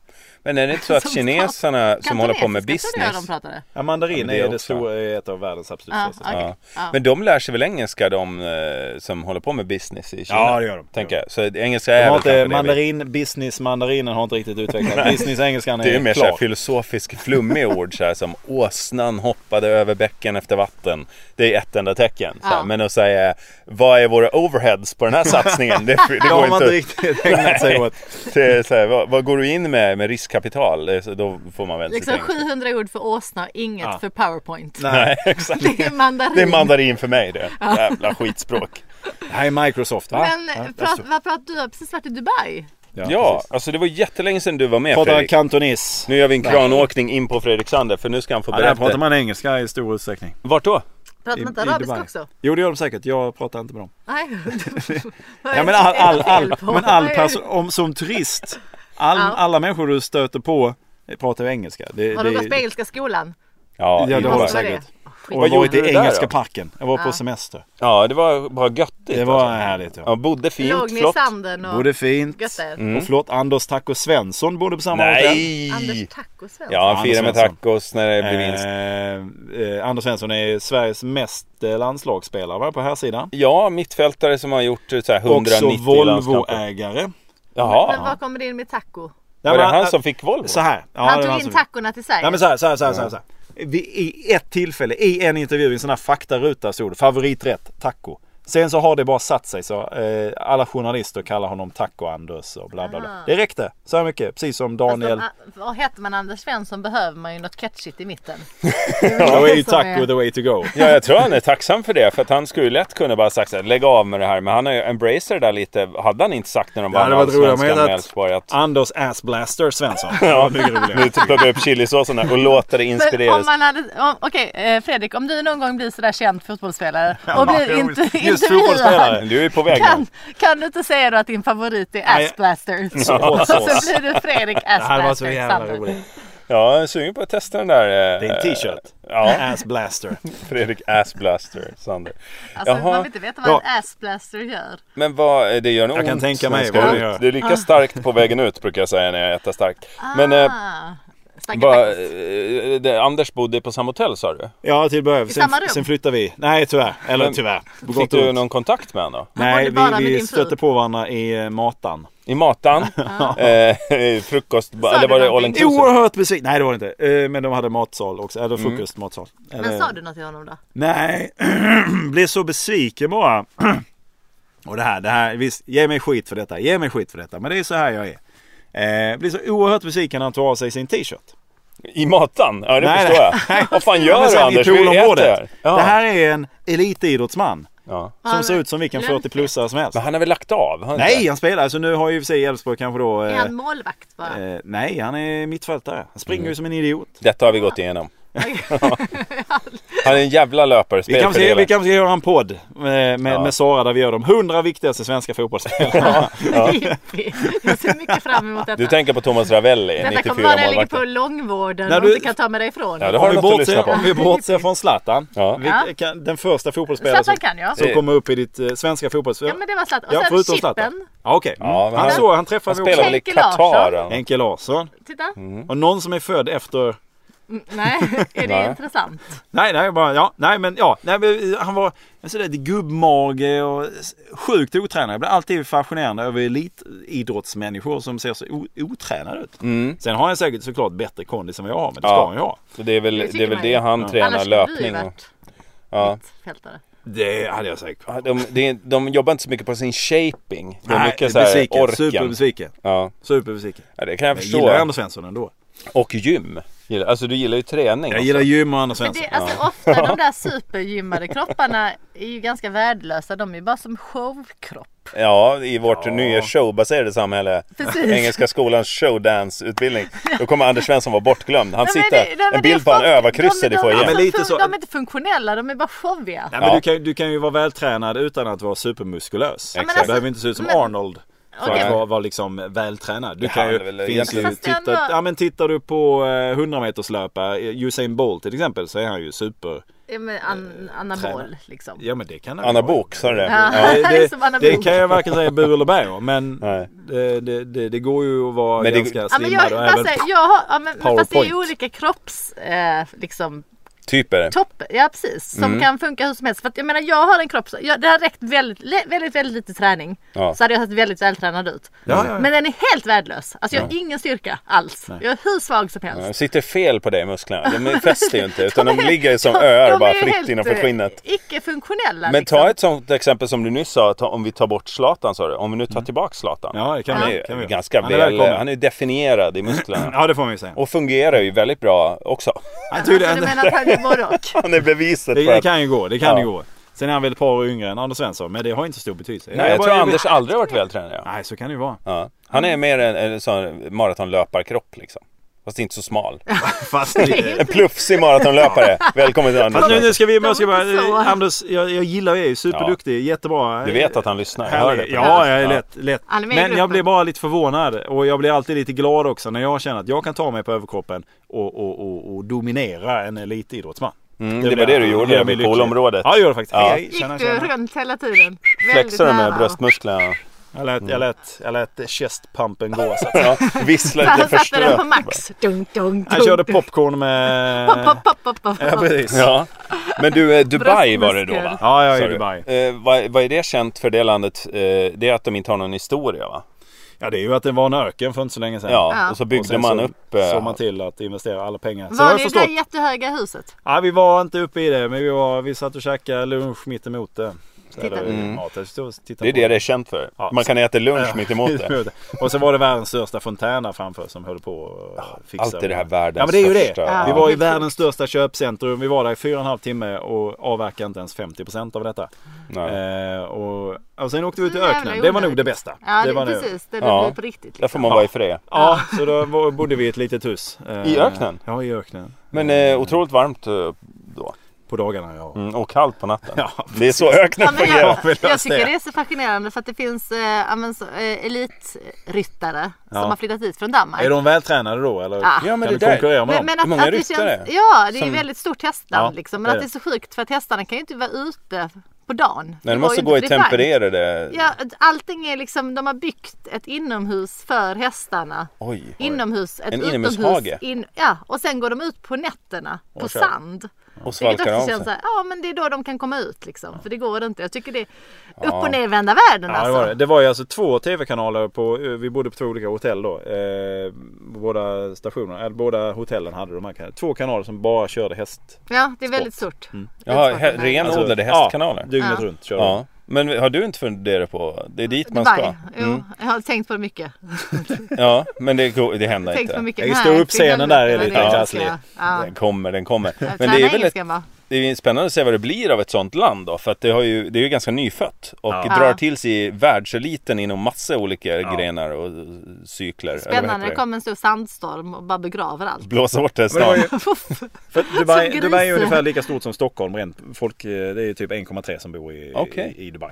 Men är det inte så att
Som
kineserna som håller på med
Kantonesiska tror jag
business
de pratade.
Ja, mandarin
Ja, men det
är,
är
det
också.
stora, är ett av världens absolut
Ja,
största.
okej.
Ja.
Ja.
Men de lär sig väl engelska de eh, som håller på med business i Kina?
Ja, det gör de.
Tänker jag. Så engelska
De
är
har
väl kanske
inte
det vi-
mandarin, business, mandarinen har inte riktigt utvecklats. business, engelskan är,
Det är mer så här
klar.
filosofisk flummiga ord så här, som åsnan hoppade över bäcken efter vatten. Det är ett enda tecken. Så här.
Ja.
Men att säga vad är våra overheads på den här satsningen? Det, det
Det
går
har man
inte.
inte
att-
riktigt ägnat sig åt.
Det är så här, vad, vad går du in med med riskkapital? Det är så- Då får man väl
Liksom
sitta i engelska.
700 ord för åsna och inget
Ja.
för powerpoint.
Nej.
Exakt.
Det är mandarin.
Det är mandarin för mig det. Jävla skitspråk.
Det här är Microsoft va?
Men eh, prat, vad pratar du har precis varit i Dubai.
Ja,
Ja,
precis.
alltså det var jättelänge sedan du var med
Pratar
Fredrik.
kantonis.
Nu gör vi en kranåkning in på Fredrik Sander för nu ska han få
Ja, där pratar
berätta.
man engelska i stor utsträckning.
Vart då?
Pratar man inte
I- i
arabiska
Dubai.
också?
Jo det gör de säkert, jag pratar inte med dem.
Nej. Vad är
Ja, men
det
all,
som är
all, all,
fel på?
men all
Vad är-
perso- om, som turist, all,
Ja.
alla människor du stöter på eh, pratar ju engelska. Det,
Har du
det-
gått på Engelska skolan?
Ja,
Ja, det
Ingvar.
har jag
Måste vara
säkert.
det.
Och
Vad
jag har varit i
gjorde du där
engelska
då?
parken. Jag var på
Ja.
semester.
ja, det var bara göttigt. alltså.
Det var härligt.
Ja,
Ja. Mm.
bodde
Låg
fint,
ni i
flott.
sanden och
alltså. Både fint
göttade er?
och flott. Anders Taco Svensson bodde på samma hotell.
Nej!
Anders Taco Svensson?
Ja, han
Anders
firar med
Svensson.
tacos när det blir vinst.
Eh, eh, Anders Svensson är Sveriges mest eh, landslagsspelare va, på här sidan.
Ja, mittfältare som har gjort eh, så här
Också
190 landskamper.
Volvo-ägare.
Men
Jaha,
vad kommer det in med taco?
var det
eh,
han som fick Volvo?
Så här. Ja,
Han
det var
tog in
som-
tacorna till Sverige.
Nej men så här, så här, så här, så här, så här. Vi, I ett tillfälle, i en intervju, i en sån här faktaruta stod det favoriträtt taco. Sen så har det bara satt sig så eh, alla journalister kallar honom Taco-Anders och bla bla bla.
Ah.
Det räckte så här mycket, precis som Daniel.
Alltså, och heter man Anders Svensson behöver man ju något catchigt i mitten.
Då är ju
som
taco
är-
the way to go.
Ja, jag tror han är tacksam för det. För att han skulle ju lätt kunna bara sagt så här, lägg av med det här. Men han har ju embraced det där lite. Hade han inte sagt när de
Det
vann
hade varit roligare
allsvenskan
med
med
att
Elfsborg att
Anders Assblaster Svensson. Det var mycket roligare.
nu typ plockar upp chilisåsen här och låter det
Men om
inspireras.
man hade, om, okej eh, Fredrik, om du någon gång blir sådär känd fotbollsspelare och
Ja,
blir
jo,
inte,
just
intervjuad.
fotbollsspelare.
Du är ju på väg nu.
Kan, kan du inte säga då att din favorit är
Nej.
Assblaster?
Så hot
Så
sauce.
blir du Fredrik
Det här var så
Assblaster.
jävla
Sandberg.
roligt.
Ja, jag är sugen på att testa den där. eh,
Det är en t-shirt.
Ja,
Assblaster.
Fredrik Assblaster Sander.
Alltså,
Jaha.
man vill inte veta vad
Ja.
en Assblaster gör.
Men vad, eh, det gör nog
Jag kan
ont
tänka
när
mig
det ska
vad det
ut.
gör.
Det är lika starkt på vägen ut brukar jag säga när jag äter starkt. Men eh,
ah, stackars
vad,
Agnes.
eh, det, Anders bodde på samma hotell sa du?
Ja, till början. Sen,
samma rum?
sen flyttar vi. Nej, tyvärr. Eller
Men
tyvärr. På
Fick
och
du
ont.
någon kontakt med honom då?
Nej,
Var det bara
vi,
med
vi
din fru?
stötte på varandra i eh, matan.
I matan? eh, frukost? eller
du
var det all
någonting?
inclusive?
Oerhört besviken. Nej, det var det inte. Eh, Men de hade matsal också. Eller
Mm.
frukostmatsal. Eller-
eh,
Men sa du något till honom då?
Nej, blev så besviken bara. Och det här, det här, visst, ge mig skit för detta, ge mig skit för detta. Men det är så här jag är. Eh, blir så oerhört besviken när han tar av sig sin t-shirt.
I matan? Ja det
Nej,
förstår
nej.
jag. Vad fan
Ja, men
gör du
sen i
Anders? Vi äter
poolområdet.
här. Ja.
Det här är en elitidrottsman.
Ja.
Som ser ut som vilken 40-plussare som helst.
Men han har väl lagt av? har han inte?
Nej, han spelar. Så nu har ju i och för sig Elfsborg kanske då...
Är
Eh,
han målvakt bara?
eh, nej, han är mittfältare. Han
Mm.
springer ju som en idiot.
Detta har vi gått igenom. Han är en jävla löpare.
Vi kanske ska, vi
spelfördelare.
kanske ska göra en podd eh, med, med, med Sara där vi gör de 100 viktigaste svenska fotbollsspelarna.
Jippi. Jag ser mycket fram emot detta.
Du tänker på Thomas Ravelli,
detta
94
kommer vara när jag ligger på
målvakten.
långvården
När
och
du-
inte kan ta mig därifrån.
Ja, det har
Om
du
vi,
något att lyssna
bortser,
på.
om vi bortser från Zlatan.
Ja.
Vi kan, den första fotbollsspelaren som,
Zlatan kan jag.
som kommer upp i ditt eh, svenska fotbollsspel.
Ja men det var Zlatan. Och
Ja,
sen
förutom Zlatan.
Chippen.
Ja, okej. Mm.
Ja, men
han,
han-
så, han
Han
träffade vi också.
spelar väl i
Henke Larsson.
Qatar? eller?
Enkel Larsson.
Titta.
Mm.
Mm,
Och någon som är född efter...
Nej, är det
Nej.
intressant?
Nej, nej, bara, ja, nej, men ja, nej, men, eh, han var en sån där gubbmage och s- sjukt otränad. Jag blir alltid fascinerad över elitidrottsmänniskor som ser så o- otränade ut. Sen har han säkert såklart bättre kondis än vad jag har, men det ska
Mm. Ja.
han ju ha.
Så det är väl
Det
det,
tycker
är väl
man
det
ju.
han tränar,
Annars skulle du ju
löpning och...
varit
Ja.
mittfältare.
Det hade jag säkert.
Ja, De, de, de jobbar inte så mycket på sin shaping. Det är mycket så här
besviken.
orken.
Superbesviken.
Ja.
Superbesviken.
ja, det kan jag
Jag gillar
förstå.
Anders Svensson ändå.
Och gym. Gillar- Alltså du gillar ju träning.
Jag gillar gym och Anders
Men
Svensson.
det, alltså, ofta de där supergymmade kropparna är ju ganska värdelösa. De är ju bara som showkropp.
Ja, i vårt nya showbaserade samhälle.
Precis.
Engelska skolans showdance-utbildning. Då kommer Anders Svensson vara bortglömd. Han
Nej, men
sitter,
det- nej, men
en
det är
bild på han
folk-
överkryssad
de-
i
de-
foajén.
alltså,
Ja, men lite
fun-
så.
De är inte funktionella, de är bara showiga.
Nej, men
Ja.
du, kan, du kan ju vara vältränad utan att vara supermuskulös.
men
du
alltså-
behöver inte se ut som
men-
Arnold för
Okej.
att vara, vara liksom vältränad. Du
Det
kan ju,
handlar väl
finns ju
egentligen-
Fast det är
titta,
ändå-
ja, men tittar du på eh, 100 meterslöpare, Usain Bolt till exempel, så är han ju super.
Ja, men an, anabol liksom.
Eh, Ja men det kan han ju vara.
Anabok, sa du det?
Ja.
Ja,
Det är
det,
som
det,
Anna
det
Bok.
kan jag varken säga bu eller bä om, men
Nej.
det, det, det, det går ju att vara
Men det-
ganska
Ja, men
slimmad
jag,
och
bara
även...
säger, jag har, ja, men, men fast det är ju
PowerPoint.
olika kropps... Eh, liksom,
Typ är det.
topp, ja precis. Som
Mm.
kan funka hur som helst. För att, jag menar jag har en kropp, så- jag, det har räckt väldigt, le- väldigt, väldigt lite träning.
Ja.
Så hade jag sett väldigt vältränad ut.
Ja, ja, ja.
Men den är helt värdelös. Alltså jag har ingen styrka alls. Jag är hur svag som helst.
De sitter fel på dig musklerna. De fäster ju inte utan de,
är-
ligger ju som
de-
öar
de
bara
är
fritt
helt,
innanför
eh,
skinnet.
Icke-funktionella.
Men
liksom.
ta ett sånt exempel som du nyss sa, ta, om vi tar bort Zlatan sa du. Om vi nu tar tillbaka Zlatan.
Mm. Ja, det kan
han är
vi-
ju
kan vi.
ganska
Han är
väl,
välkommen.
han är ju definierad i musklerna.
Ja det får man ju säga.
Och fungerar ju väldigt bra också.
Han
Så du menar att han är morok?
Han är beviset
Det,
för
det
att...
kan ju gå, det kan
Ja.
ju gå. Sen är han väl ett par år yngre än Anders Svensson, men det har inte så stor betydelse.
Nej, jag
bara-
tror Anders aldrig har varit vältränad. Ja.
Nej, så kan det ju vara.
Ja. Han är mer en, en sån maratonlöparkropp liksom. Fast inte så smal.
Fast, det,
En plufsig maratonlöpare. Välkommen till Anders.
fast nu, nu ska vi, jag ska
De är inte så.
bara, Anders, jag, jag gillar dig, superduktig, jättebra.
Du vet att han lyssnar. Jag hör det.
Härlig.
på
Ja,
dig.
jag är lätt, lätt.
Han är med i
Men jag
gruppen.
blir bara lite förvånad och jag blir alltid lite glad också när jag känner att jag kan ta mig på överkroppen och, och, och, och dominera en elitidrottsman.
Mm, det
blir-
var det du gjorde
blir jag
med
lycklig.
poolområdet.
Ja, jag gjorde faktiskt.
Ja.
Hej, hej,
Gick
tjena,
du
tjena.
runt hela tiden? Väldigt
Flexar du med
nära.
bröstmusklerna?
Jag lät, jag lät, jag lät chestpumpen gå. Så att
Ja, vissla
Han
lite
satte den på
förstört.
max. Dunk, dunk,
Han
dunk.
körde popcorn med...
Pop, pop, pop, pop, pop.
Ja, precis.
Ja. Men du, eh, Dubai var det då va?
Ja, jag är
Sa
i
du?
Dubai.
Eh, vad, vad är det känt för det landet? Eh, det är att de inte har någon historia va?
Ja, det är ju att det var en öken för inte så länge sedan.
Ja,
Ja.
och så
Och
byggde
sen
man
så
upp... eh,
såg man till att investera alla pengar. Sen har
Var
jag
ni i det där
förstått.
jättehöga huset?
Ja, vi var inte uppe i det, men vi, var, vi satt och käkade lunch mitt emot det. Så här,
Titta.
där
Mm.
maten. Så stod jag och tittade
Det är
på
det det är känt för.
Ja.
Man kan äta lunch mitt emot det.
Och så var det världens största fontän där framför som höll på att fixa.
Alltid det här världens
Ja men det är ju det.
största.
Vi
Ja.
var i världens största köpcentrum. Vi var där i fyra och en halv timme och avverkade inte ens 50% av detta.
Nej.
Eh, och, och sen åkte vi ut i
Mm, jävla
öknen. Det var nog
onödigt.
det bästa.
Ja, det,
var nog-
precis. Det, det
Ja.
blir på riktigt.
Där
Liksom.
får man vara i fred.
Ja, så då var- bodde vi i ett litet hus. Eh,
Ah. I öknen?
Ja, i öknen.
Men eh, otroligt varmt eh, då.
På dagarna ja.
Mm, och kallt på natten.
Ja,
det är så öknen
Ja, men
fungerar.
jag,
vi löser
jag tycker
det.
det är så fascinerande för att det finns eh, ja, men så, eh, elitryttare
Ja.
som har flyttat hit från Danmark.
Är de vältränade då eller?
Ja.
Ja, men
kan
alltså- det
du
där-
konkurrera med
Men,
dem?
men att,
Hur många
att det
ryttare?
känns, Ja, det är ju
Som-
väldigt stort hästland
Ja,
liksom.
det
Men
är
att det är så sjukt för att hästarna kan ju inte vara ute på dagen.
Nej,
Det
de
går
måste
ju
gå i
inte för det är varmt.
tempererade...
Ja, allting är liksom, de har byggt ett inomhus för hästarna.
Oj.
Inomhus, ett
En
utomhus.
inomhushage?
In, ja, och sen går de ut på nätterna på
kör.
sand.
Och
Vilket
svalkar
också
av
känns så
sig.
här, ja men det är då de kan komma ut liksom. För det går inte. Jag tycker det är upp och nervända världen
Ja, det,
alltså.
var det. det var ju alltså två tv-kanaler på, eh, vi bodde på två olika hotell då. Eh, båda stationerna, eller båda hotellen hade de här kanalerna. Två kanaler som bara körde häst. Alltså,
Ja, det är väldigt stort.
Jaha,
Väldigt
Mm. he-
stort.
renodlade hästkanaler.
Ja, dygnet
Ja.
runt körde de.
Ja. Men har du inte funderat på... Det är dit man ska. Mm.
Dubai. Jo, jag har tänkt på det mycket.
Ja, men det, går- det händer
Tänkt på
inte.
mycket.
Jag
Nej,
står upp
till
scenen där,
helvete,
är lite
vad det jag
krasslig.
ska göra. Ja.
Den kommer, den kommer.
Jag
Men det
tränar
är väl ett
engelska, va?
Det är spännande att se vad det blir av ett sånt land då, för att det, har ju, det är ju ganska nyfött och
Ja.
drar
Ja.
till sig världseliten inom massa olika
Ja.
grenar och eh, cykler. eller vad heter
Spännande när det kommer en stor sandstorm och bara begraver allt.
Blåsa bort det
Men det var
snart.
ju, för Dubai,
Som
Dubai är
gris.
ungefär lika stort som Stockholm rent. Folk, eh, det är typ 1,3 som bor i,
Okej.
i, i Dubai.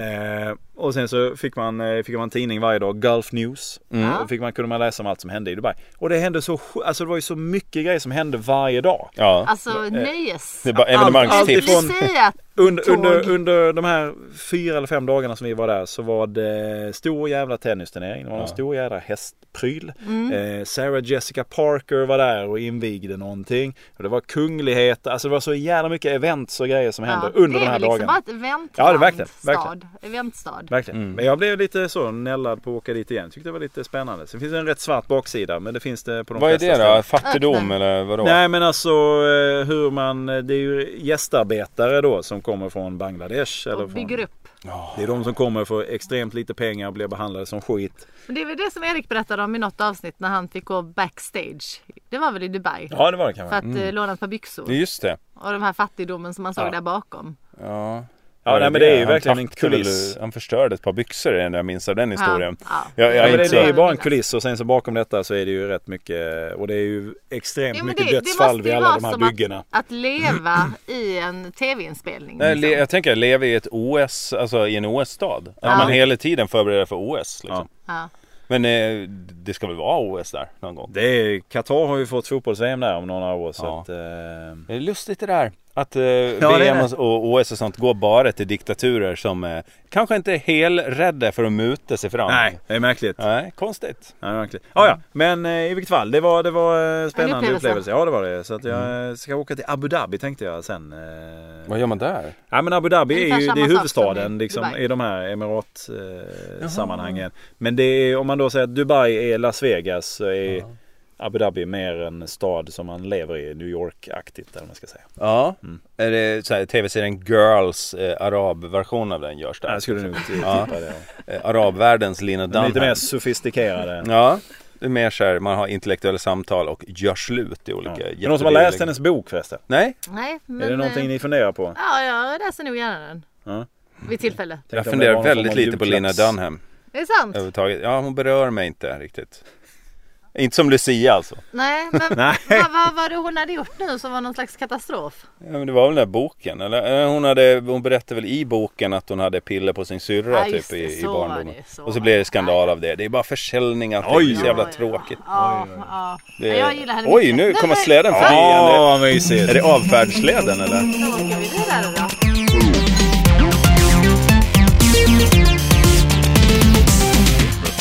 Ja.
Eh, och sen så fick man, eh, fick man tidning varje dag, Gulf News.
Mm.
Då fick man, kunde man läsa om allt som hände i Dubai. Och det hände så, sj- alltså det var ju så mycket grejer som hände varje dag.
Ja.
Alltså nöjes.
Det är bara evenemangstips.
allt ifrån-
Lucia,
eh, Under,
Tåg.
under, under de här fyra eller fem dagarna som vi var där så var det stor jävla tennisturnering. Det var en stor jävla hästpryl.
Mm.
Eh, Sarah Jessica Parker var där och invigde någonting. Och det var kungligheter. Alltså det var så jävla mycket events och grejer som hände under de här
Det är väl
dagarna.
liksom bara ett eventland.
Ja, det är verkligen, verkligen.
Stad. Eventstad.
Verkligen.
Mm.
Men jag blev lite så nällad på att åka dit igen. Tyckte det var lite spännande. Sen finns det en rätt svart baksida men det finns det på de
Vad är
flesta
det
ställen.
då? Fattigdom eller vadå?
Nej men alltså eh, hur man, det är ju gästarbetare då som kommer från Bangladesh. Eller
Och bygger
från,
upp.
det är de som kommer för extremt lite pengar och blir behandlade som skit.
Men det är väl det som Erik berättade om i något avsnitt när han fick gå backstage. Det var väl i Dubai?
Ja det var det
För
kanske.
att eh, låna ett par byxor.
Det är Just det.
Och de här fattigdomen som man såg
Mm. Ja.
där bakom.
Ja.
Ja, nej, men det är ju
Han
verkligen en
taktade väl-
kuliss.
Han förstörde ett par byxor är det enda jag minns av den historien.
Ja.
Jag, jag
Ja,
är
men det,
inte
det är ju
så...
bara en kuliss och sen så bakom detta så är det ju rätt mycket och det är ju extremt
Jo, men
mycket
det- det
dödsfall
måste
vid
ju
alla
vara
de här
som att-
byggena.
Att leva i en tv-inspelning.
Nej, le-
liksom.
jag tänker leva i ett OS, alltså i en OS-stad. Att man hela tiden förbereder för OS. Liksom.
Ja.
Men eh, det ska väl vara OS där någon gång?
Det är, Qatar har ju fått fotbolls-VM där om några år så
Ja.
att... Eh,
Det är lustigt det där. Att eh,
är
VM
det.
och OS och sånt går bara till diktaturer som eh, kanske inte är helrädda för att muta sig fram.
nej, det är märkligt.
Nej, konstigt.
Ja, verkligen. Ja, ja. Men eh, i vilket fall, det var, det var eh, spännande
En upplevelse. Mm.
upplevelse. Ja, det var det. Så att jag eh, ska åka till Abu Dhabi tänkte jag sen. eh.
Vad gör man där?
Ja, men Abu Dhabi är
Ungefär
ju det är
samma sak som
huvudstaden
i
liksom,
Dubai.
i de här emirat-sammanhangen. men det är, om man då säger att Dubai är Las Vegas så är Abu Dhabi mer en stad som man lever i, New York-aktigt eller vad man ska säga.
Ja, är det så här, tv-serien Girls eh, arabversion av den görs där?
Jag skulle nog inte tippa det.
Eh, arabvärldens Lina
Den är
Dunham.
lite mer sofistikerade.
Ja, det är mer så här, man har intellektuella samtal och gör slut i olika...
Ja. Är det någon som har läst hennes bok förresten?
Nej,
Nej, men,
är det någonting
eh,
ni funderar på?
Ja, jag läser nog gärna den.
Ja.
Vid tillfälle.
Tänkte om det var
jag funderar
någon form
väldigt
av
lite på Lina
julklapps-
Dunham
Det är sant.
överhuvudtaget. Ja, hon berör mig inte riktigt. Inte som Lucia alltså.
Nej, men
Nej.
vad vad var det hon hade gjort nu som var någon slags katastrof?
Ja, men det var väl den där boken? Eller? Eh, Hon, hade, hon berättade väl i boken att hon hade piller på sin syrra
Ja,
typ
just det,
i, i
så var
barndomen.
det, så
och så
var
blev
det.
det skandal av det. Det är bara försäljning allting.
Oj.
det är så jävla
Ja, ja.
tråkigt.
Ja, ja.
Det...
Jag gillar henne
Oj,
mycket.
nu
Nej,
kommer
men-
släden förbi. igen.
Åh, mysigt!
Är det avfärdsleden
Då
eller?
åker vi vidare då.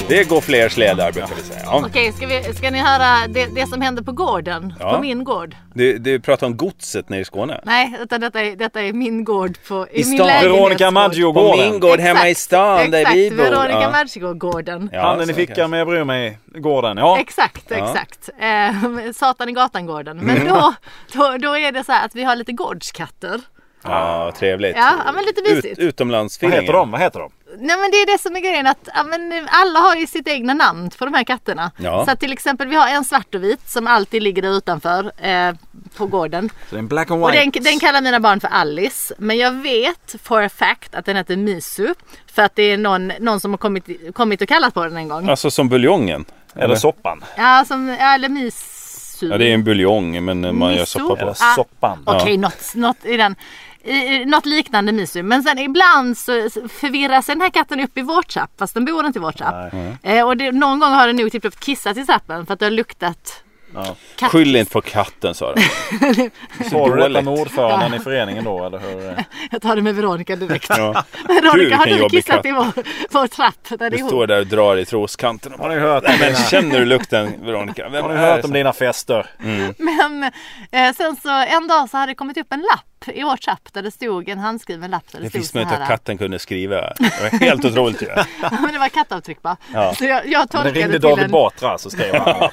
Det går fler slädar brukar vi säga. Ja.
Okej, ska, vi, ska ni höra det, det som hände på gården?
Ja.
På min gård?
Du, du pratar om godset nere i Skåne.
Nej, utan detta är, detta är min gård på, i,
I
min
stan.
lägenhetsgård.
Veronica Maggio
På min gård hemma i
Exakt,
stan där
exakt,
vi bor.
Veronica
Ja.
Maggio-gården.
Ja,
Handen i
så kanske.
fickan men jag bryr mig. Gården. Ja.
Exakt, exakt. Ehm,
Mm.
Eh, Satan i gatan-gården. Men då, då, då är det så här att vi har lite gårdskatter.
Ja, trevligt.
Ja, ja, men lite
Ut,
mysigt.
Vad
utomlandsfeelingen.
heter de? Vad heter de?
Nej men det är det som är grejen att ja, men alla har ju sitt egna namn för de här katterna.
Ja.
Så att till exempel vi har en svart och vit som alltid ligger där utanför eh, på gården.
Så det är en black and
Och
white.
den, den kallar mina barn för Alice. Men jag vet for a fact att den heter Misu. För att det är någon, någon som har kommit, kommit och kallat på den en gång.
Alltså som buljongen.
Eller soppan.
Ja, som, ja, eller Misu.
Ja, det är en buljong men man gör
Miso.
soppa på.
Eller
Ja.
Ah.
soppan.
Okej, något, något, i den, i, i- något liknande misu. Men sen ibland så förvirras den här katten upp i vårt trapp fast den bor inte i vårt trapp. Eh, och det, någon gång har den nog typ kissat i trappen för att det har luktat katt.
Skyll inte på katten sa du.
Sa du detta
dåligt.
med ordföranden i föreningen då eller hur?
Jag tar det med Veronica direkt.
Ja. Gud,
Veronica, har
vilken
du
jobbig
kissat
katt.
i vår, vår trapp? Där det
Du
är
står
hon.
där och drar i troskanten. och bara,
Har ni hört om
Men
dina,
känner du lukten Veronica? Vem
har ni
är
hört
det
om
som-
dina fester?
Men eh, sen så en dag så hade det kommit upp en lapp i vår trapp där det stod en handskriven lapp där det,
Det
stod
finns
så
möjlighet
här.
att katten kunde skriva. Det var helt otroligt ju.
Ja, men det var kattavtryck bara.
Ja.
Så jag, jag
Men
tolkade
det ringde
till
David
en...
Batra så skrev han.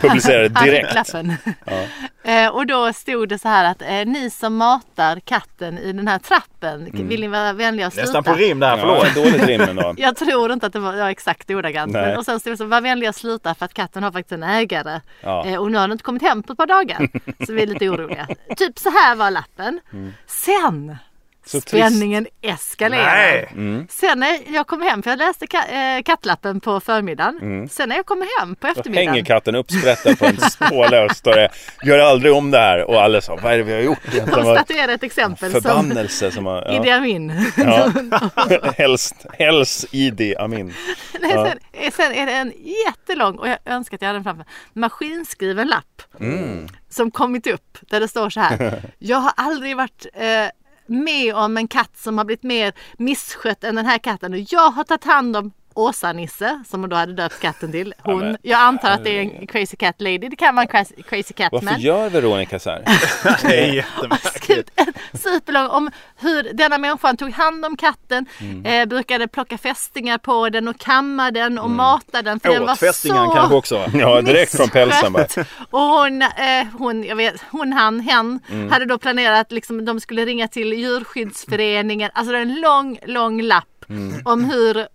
Publicerade
Han fick
direkt.
lappen. Eh, och då stod det så här att eh, ni som matar katten i den här trappen,
Mm.
vill ni vara vänliga och sluta?
Nästan på rim där,
Ja,
förlåt.
dåligt rim ändå.
Jag tror inte att det var ja, exakt ordagrant.
Nej.
Men, och sen stod det så, var vänliga och sluta för att katten har faktiskt en ägare.
Ja.
Eh, och nu har den inte kommit hem på ett par dagar. Så vi är lite oroliga. typ så här var lappen. Sen
Mm. Så Mm.
Spänningen eskalerar.
Nej.
Sen när jag kom hem, för jag läste ka- eh, kattlappen på förmiddagen. Sen när jag kommer hem på
Mm. Då
eftermiddagen.
hänger katten uppsprättad på en påle och står det Gör aldrig om det här. Och alla sa Vad är det vi har gjort egentligen?
Och
Vad-
statuera ett exempel som
Förbannelse som har...
Idi
Ja.
Amin.
Ja. Helst, helst Idi Amin.
Nej, sen, eh, sen är det en jättelång, och jag önskar att jag hade den framför maskinskriven lapp.
Mm.
Som kommit upp där det står så här. Jag har aldrig varit eh, med om en katt som har blivit mer misskött än den här katten. Och jag har tagit hand om Åsa-Nisse, som hon då hade döpt katten till. Hon,
men-
jag antar att det är en crazy cat lady. Det kan vara en crazy, crazy cat
Varför
man.
gör Veronica så här?
Det är
Skrivit en superlång om hur denna människan tog hand om katten,
Mm.
eh, brukade plocka fästingar på den och kamma den
Mm.
och mata den. För den var
Åt fästingar
så
kanske också. va?
Ja, direkt från pälsen bara.
misskött. Och hon, eh, hon, jag vet, hon, han, hen
Mm.
hade då planerat liksom de skulle ringa till djurskyddsföreningen. Alltså det är en lång, lång lapp
Mm.
om hur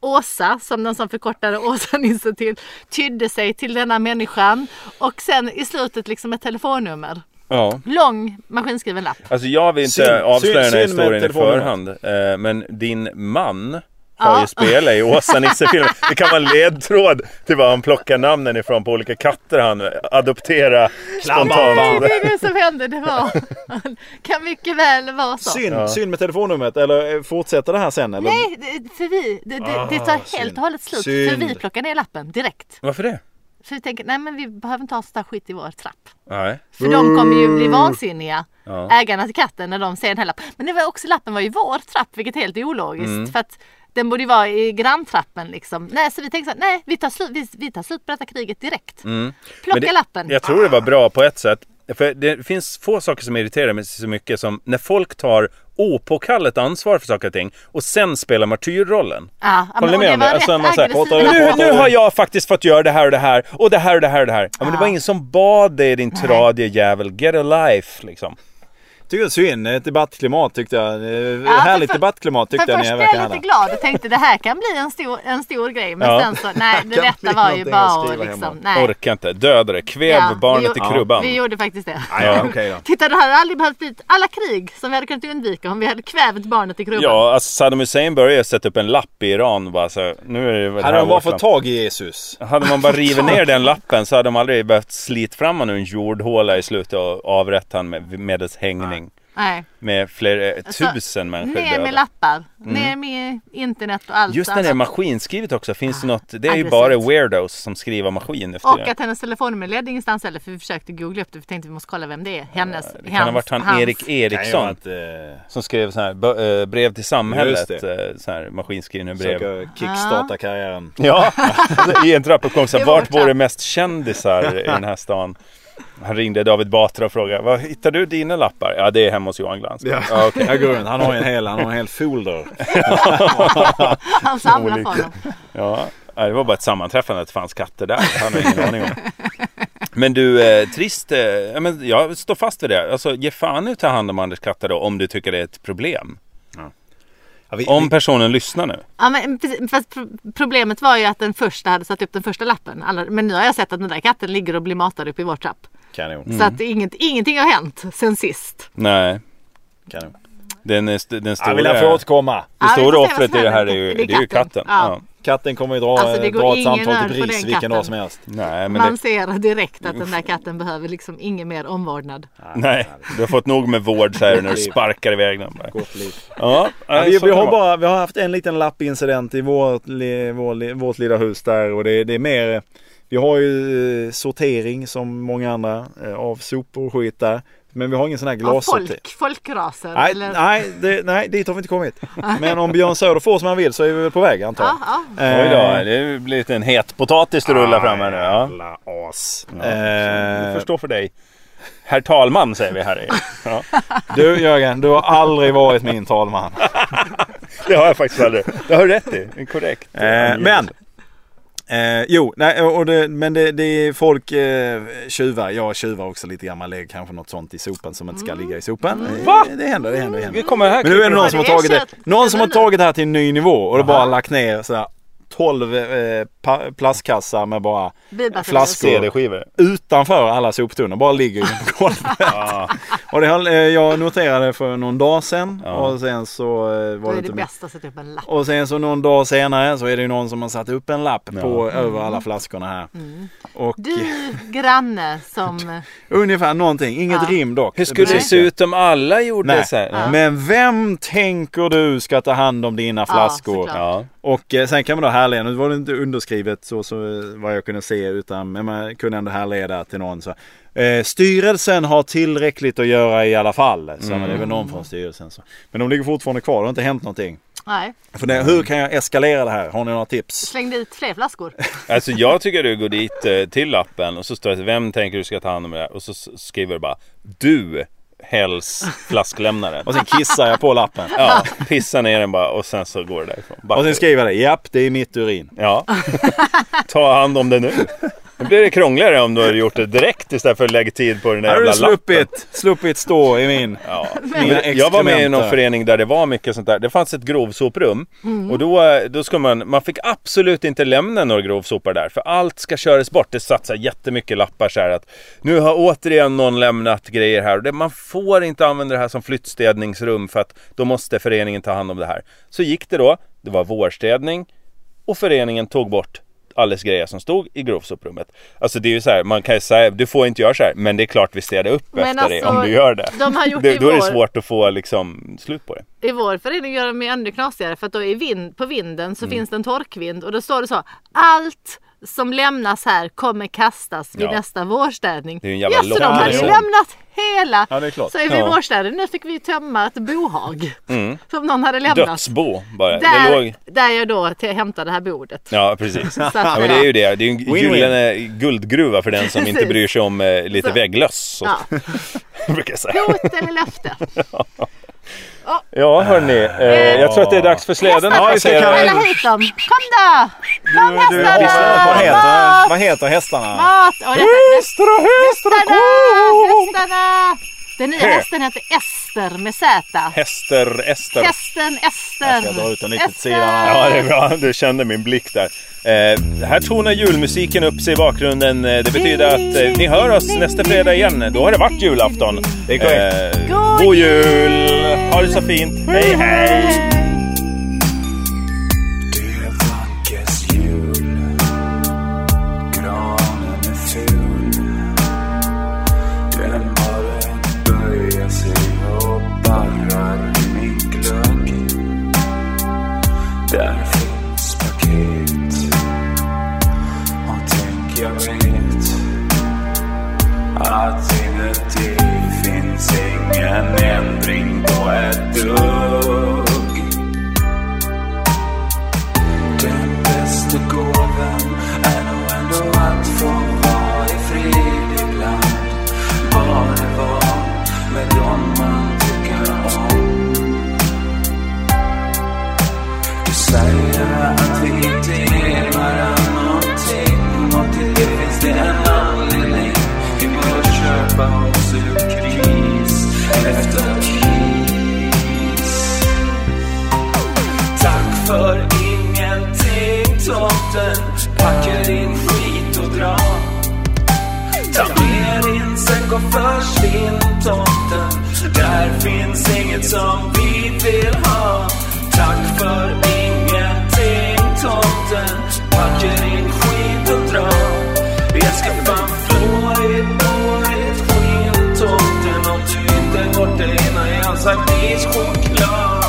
Åsa, som den som förkortade Åsa-Nisse till, tydde sig till denna människan. Och sen i slutet liksom ett telefonnummer.
Ja.
Lång maskinskriven lapp.
Alltså jag vill inte
Synd-
avslöja
synd-
den här
synd med
historien i förhand.
telefonnumret.
eh, Men din man
Ja.
har ju spelat i Åsa-Nisse-filmen. Det kan vara en ledtråd till var han plockar namnen ifrån på olika katter han adopterar
Nej,
spontant.
det är det som hände. Det var, kan mycket väl vara så.
Synd, synd med telefonnumret. Eller eh, fortsätter det här sen? Eller?
Nej, det- för vi, det, det, det
Ah,
tar helt
synd.
och hållet slut. För
Synd.
vi plockar ner lappen direkt.
Varför det?
För vi tänker, nej men vi behöver inte ha sånt här skit i vår trapp.
Nej.
För de kommer ju bli vansinniga. Ägarna till katten när de ser den här lappen. Men det var också lappen var i vår trapp vilket är helt ologiskt.
Mm.
För att den borde ju vara i granntrappen liksom. Nej så vi tänkte så här, nej vi tar, slut, vi, vi tar slut på detta kriget direkt. Plocka
Mm. Men det-
lappen.
Jag tror det var bra på ett sätt. För det finns få saker som irriterar mig så mycket som när folk tar opåkallat ansvar för saker och ting och sen spelar martyrrollen.
Ja, men
Håller
det
ni med om det?
var rätt
Alltså, man så här,
aggressiv
pratar-
lapp.
Nu, nu har jag faktiskt fått göra det här och det här och det här och det här och det här. Ja, men det var ingen som bad dig din tradiga jävel. Get a life liksom.
Tycker det är synd. Ett debattklimat tyckte jag. Eh,
för
Härligt
för-
debattklimat tyckte
för
jag
först
ni
blev jag
verkar
lite
hade.
glad och tänkte det här kan bli en stor, en stor grej. Men
Ja.
sen så, nej det
kan bli
detta var
någonting
ju
att
bara att
skriva hemma.
liksom, nej.
Orkar inte. Döda det. Kväv
Ja,
barnet
vi-
i krubban.
Vi gjorde faktiskt det.
Ja, ja, okej då.
Titta det hade aldrig behövt bli alla krig som vi hade kunnat undvika om vi hade kvävt barnet i krubban.
Ja, alltså Saddam Hussein började sätta upp en lapp i Iran bara så nu är det väl det
Hade
här
de bara
vårt
fått
land.
tag i Jesus?
Hade man bara rivit ner den lappen så hade de aldrig behövt slita fram honom ur en jordhåla i slutet och avrätta honom med, medelst hängning.
Nej. Alltså,
Med flera
Så,
tusen människor
Ner med
döda. Mm.
lappar, ner med internet och allt
Just när det är
annat.
maskinskrivet också finns det något, det är ju
aggressivt.
bara weirdos som skriver maskin efter
Ah. Och
det.
att hennes telefonnummer ledde ingenstans heller för vi försökte googla upp det för vi tänkte vi måste kolla vem det är. Hennes,
Det kan ha varit han
hans.
Erik
Nej, jag har eh,
Eriksson
inte,
som skrev så här, bö- eh, brev till samhället,
Just
eh, så här maskinskrivna
eh,
brev.
Försöka kickstarta karriären.
Ja, i en trappuppgång. Så här,
Det var
vart bor
vårt
det mest kändisar i den här stan? Han ringde David Batra och frågade, var hittar du dina lappar? Ja, det är hemma hos Johan Glans. Ja, okej.
Jag går runt. Han har en hel, han har en hel folder.
Han samlar på
Olika.
honom.
ja. Nej, Det var bara ett sammanträffande att det fanns katter där. Han har ingen aning om. Men du, eh, trist. Eh, ja, men jag står fast vid det. Alltså, ge fan i att ta hand om Anders katter då, om du tycker det är ett problem.
Ja, vi,
Om personen lyssnar nu.
Ja, men precis, fast pro- problemet var ju att den första hade satt upp den första lappen. Alla, men nu har jag sett att den där katten ligger och blir matad upp i vår trapp.
vi, kanon,
Mm.
Så att inget, ingenting har hänt sen sist.
Nej,
kanon.
den, är st- den
Ja,
stora...
vi lär få återkomma.
Det
Ja, vi får
stora
se vad som
offret i det här är
händer.
ju,
Det är
det är ju
katten.
katten.
Ja.
Ja.
Katten kommer ju dra, eh,
Alltså, det går
dra ett
ingen
samtal
nöd
till
på
BRIS
den
vilken dag
katten.
som helst.
Nej, men
Man
det,
ser direkt att den där katten behöver liksom ingen mer omvårdnad.
nej, du har fått nog med vård så här när du sparkar iväg den. bara.
Gott liv.
Ja,
Ja,
nej,
vi,
så
vi,
kan
har
det vara.
bara, vi har haft en liten lappincident i vårt, li- vår, li- vårt lilla hus där och det, det är mer Vi har ju eh, sortering som många andra eh, av sopor och skit där. Men vi har ingen sån här
Av
glassortering.
folk, folkraser.
Nej,
eller?
nej, det, nej, dit har vi inte kommit. Men om Björn Söder får som han vill så är vi väl på väg antar jag.
Ja, ja.
Oj då, det blir lite en het potatis du rullar fram här nu. Ja.
Eh, Jävla as.
Jag
Eh,
förstår för dig. Herr talman säger vi här i. Ja.
du Jörgen, du har aldrig varit min talman.
Det har jag faktiskt aldrig. Det har du rätt i. Korrekt.
Eh, men. Eh, jo, nej, och det, men det, det är folk eh, tjuvar. Jag tjuvar också lite grann. Man lägger kanske något sånt i sopan som inte ska ligga i sopan.
Va?
Eh, Det händer, det händer, det händer.
Vi kommer här.
Men nu är det någon
det
som har
är
tagit det,
kött.
någon som har
Men nu-
tagit det här till en ny nivå och det bara lagt ner sådär 12 eh, pa- plastkassar med bara
Bilbatterier.
flaskor
CD-skivor.
utanför alla soptunnor. Bara ligger på golvet. och det, höll- eh, jag noterade för någon dag sedan och sen så eh,
Då
var det
är
inte
det
mer.
bäst att sätta upp en lapp.
Och sen så någon dag senare så är det ju någon som har satt upp en lapp på över alla flaskorna här. Och
Mm. Du granne som...
ungefär någonting, inget
Ja.
rim dock.
Hur skulle det se ut om alla gjorde
Nej.
så här?
Men vem tänker du ska ta hand om dina flaskor?
såklart.
Ja.
och eh, sen kan man då härleda, nu var det inte underskrivet så, så eh, vad jag kunde se utan men man kunde ändå härleda till någon. Så. Eh, styrelsen har tillräckligt att göra i alla fall. Så det är väl någon från styrelsen. Så. Men de ligger fortfarande kvar, det har inte hänt någonting.
Nej,
För det, hur kan jag eskalera det här? Har ni några tips?
slängde ut fler flaskor.
Alltså jag tycker du går dit eh, till appen och så står det vem tänker du ska ta hand om det här? Och så s- skriver du bara du hälls flasklämnaren.
Och sen kissar jag på lappen.
Ja, pissa ner den bara och sen så går det därifrån. Bara-
Och sen skriver jag det. Japp, det är mitt urin.
Ja, ta hand om det nu. Då blir det krångligare om du har gjort det direkt istället för att lägga tid på den där
Här har
jävla
du
lappen.
sluppit, sluppit stå i min.
Ja.
Mina
Men Jag var med i någon
exkrementer.
förening där det var mycket sånt där. Det fanns ett grovsoprum.
Mm.
Och då, eh, då ska man, man fick absolut inte lämna några grovsopar där. För allt ska köras bort. Det satsar jättemycket lappar så här att nu har återigen någon lämnat grejer här. Och det, man får inte använda det här som flyttstädningsrum för att då måste föreningen ta hand om det här. Så gick det då. Det var vårstädning. Och föreningen tog bort alles grejer som stod i grovsoprummet. Alltså det är ju så här, man kan ju säga, du får inte göra så här, men det är klart vi städar upp
Men
efter dig
alltså,
om du gör det.
de har gjort
det
i
då är det
vår.
svårt att få liksom slut på det.
I vår förening gör de ju ännu knasigare för att då i vind, på vinden
Mm.
så finns det en torkvind och då står det så allt som lämnas här kommer kastas vid
Ja.
nästa vårstädning.
Det är ju en jävla
så de hade ju
lockelse.
lämnat hela.
Ja, det är klart.
Så är vi
Ja.
vårstäder nu fick vi ju tömma ett bohag som någon hade lämnat.
Dödsbo bara. Det låg...
Där, där jag då till, hämtade det här bordet.
Ja, precis.
att
ja, men det är ju det. Det är ju en
Win-win.
gyllene guldgruva för den som inte
Precis.
bryr sig om eh, lite
Så.
vägglöss.
Ja.
brukar jag säga.
Hot eller löfte?
Ja, hörni. Eh, jag tror att det är dags för släden.
Ja, vi ska kalla-
Kalla hit dem! Kom då! Kom
Du,
hästarna!
hästarna, vad, heter, vad heter hästarna?
Mat! Och detta,
Hästar och hästar och
Hästarna!
ko!
Hästarna! Den nya hästen heter Ester med Z.
Häster, Ester.
Hästen
Jag
Ester.
ska dra ut den lite till
Ester.
sidan här.
Ja, det är bra. Du kände min blick där. Eh, här tonar julmusiken upp sig i bakgrunden. Eh, Det betyder att eh, ni hör oss nästa fredag igen. Då har det varit julafton.
Det är korrekt.
Eh, god jul! Ha det så fint. Hej, hej!
Dear Vackes jul Granen är ful Den morgon böjer sig och barrar i min glögg Där finns paket Och tänk jag vet Att inuti finns ingen ändring på ett dugg den bästa gåvan är nog ändå att få vara i fred ibland. Bara vara med dem man tycker om. Du säger att vi inte ger varandra någonting och till det finns det en anledning. för ingenting Tomten packar in skit och drar Ta med din säck och försvinn tomten Där finns inget som vi vill ha Tack för ingenting tomten Packar in skit och drar Jag ska fan flå ditt dåligt skinn tomten Om du inte går det innan jag sagt is choklad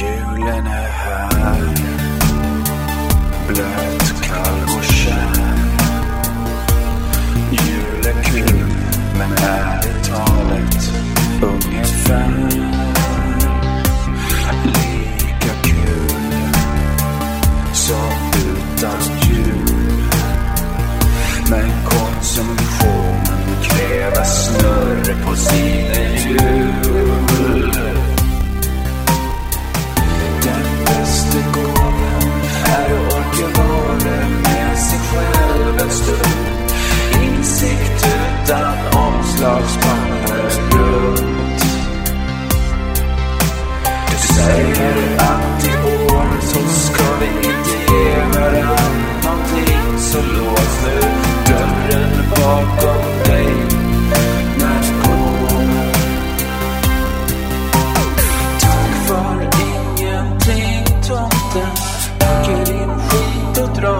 Julen är här Blöt, kall och kär Jul är kul men ärligt talat ungefär lika kul som utan jul Men konsumtionen kräver snurr på sina hjul den bästa gåvan är att orka vara med sig själv en stund. Insikt utan omslagspapper runt. Du säger att i år så ska vi inte ge varandra någonting. Så lås nu dörren bakom dig när du går. Tack för ingenting tomten Packer din skit och dra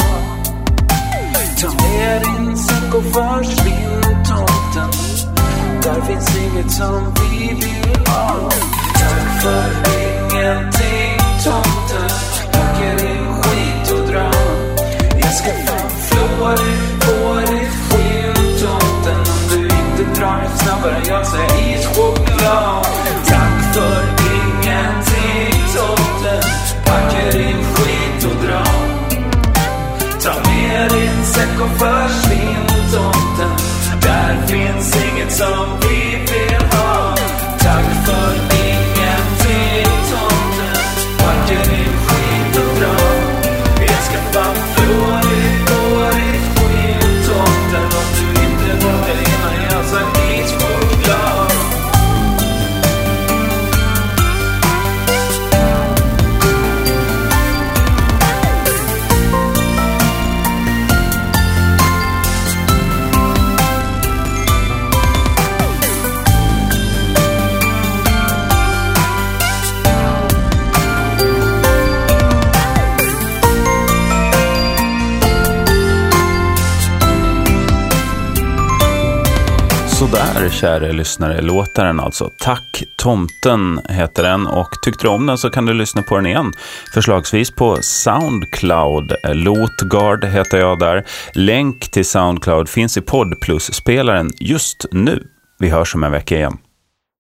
Ta med din säck och försvinn tomten Där finns inget som vi vill ha Tack för ingenting tomten Packer din skit och dra Jag ska fan flåa dig på ditt skinn tomten Om du inte drar snabbare än jag säger ischoklad Tack för ingenting tomten Packer din skit och dra Ta med din säck och försvinn tomten Där finns inget som vi vill ha Tack för ingenting tomten Packer din skit och dra Jag ska fan förlora ditt hår, ditt skinn tomten Om du inte drar dig innan jag sagt ditt choklad
Sådär, kära lyssnare, låter den alltså. Tack tomten heter den och tyckte du om den så kan du lyssna på den igen. Förslagsvis på Soundcloud. Lotgard heter jag där. Länk till Soundcloud finns i podd plus-spelaren just nu. Vi hörs om en vecka igen.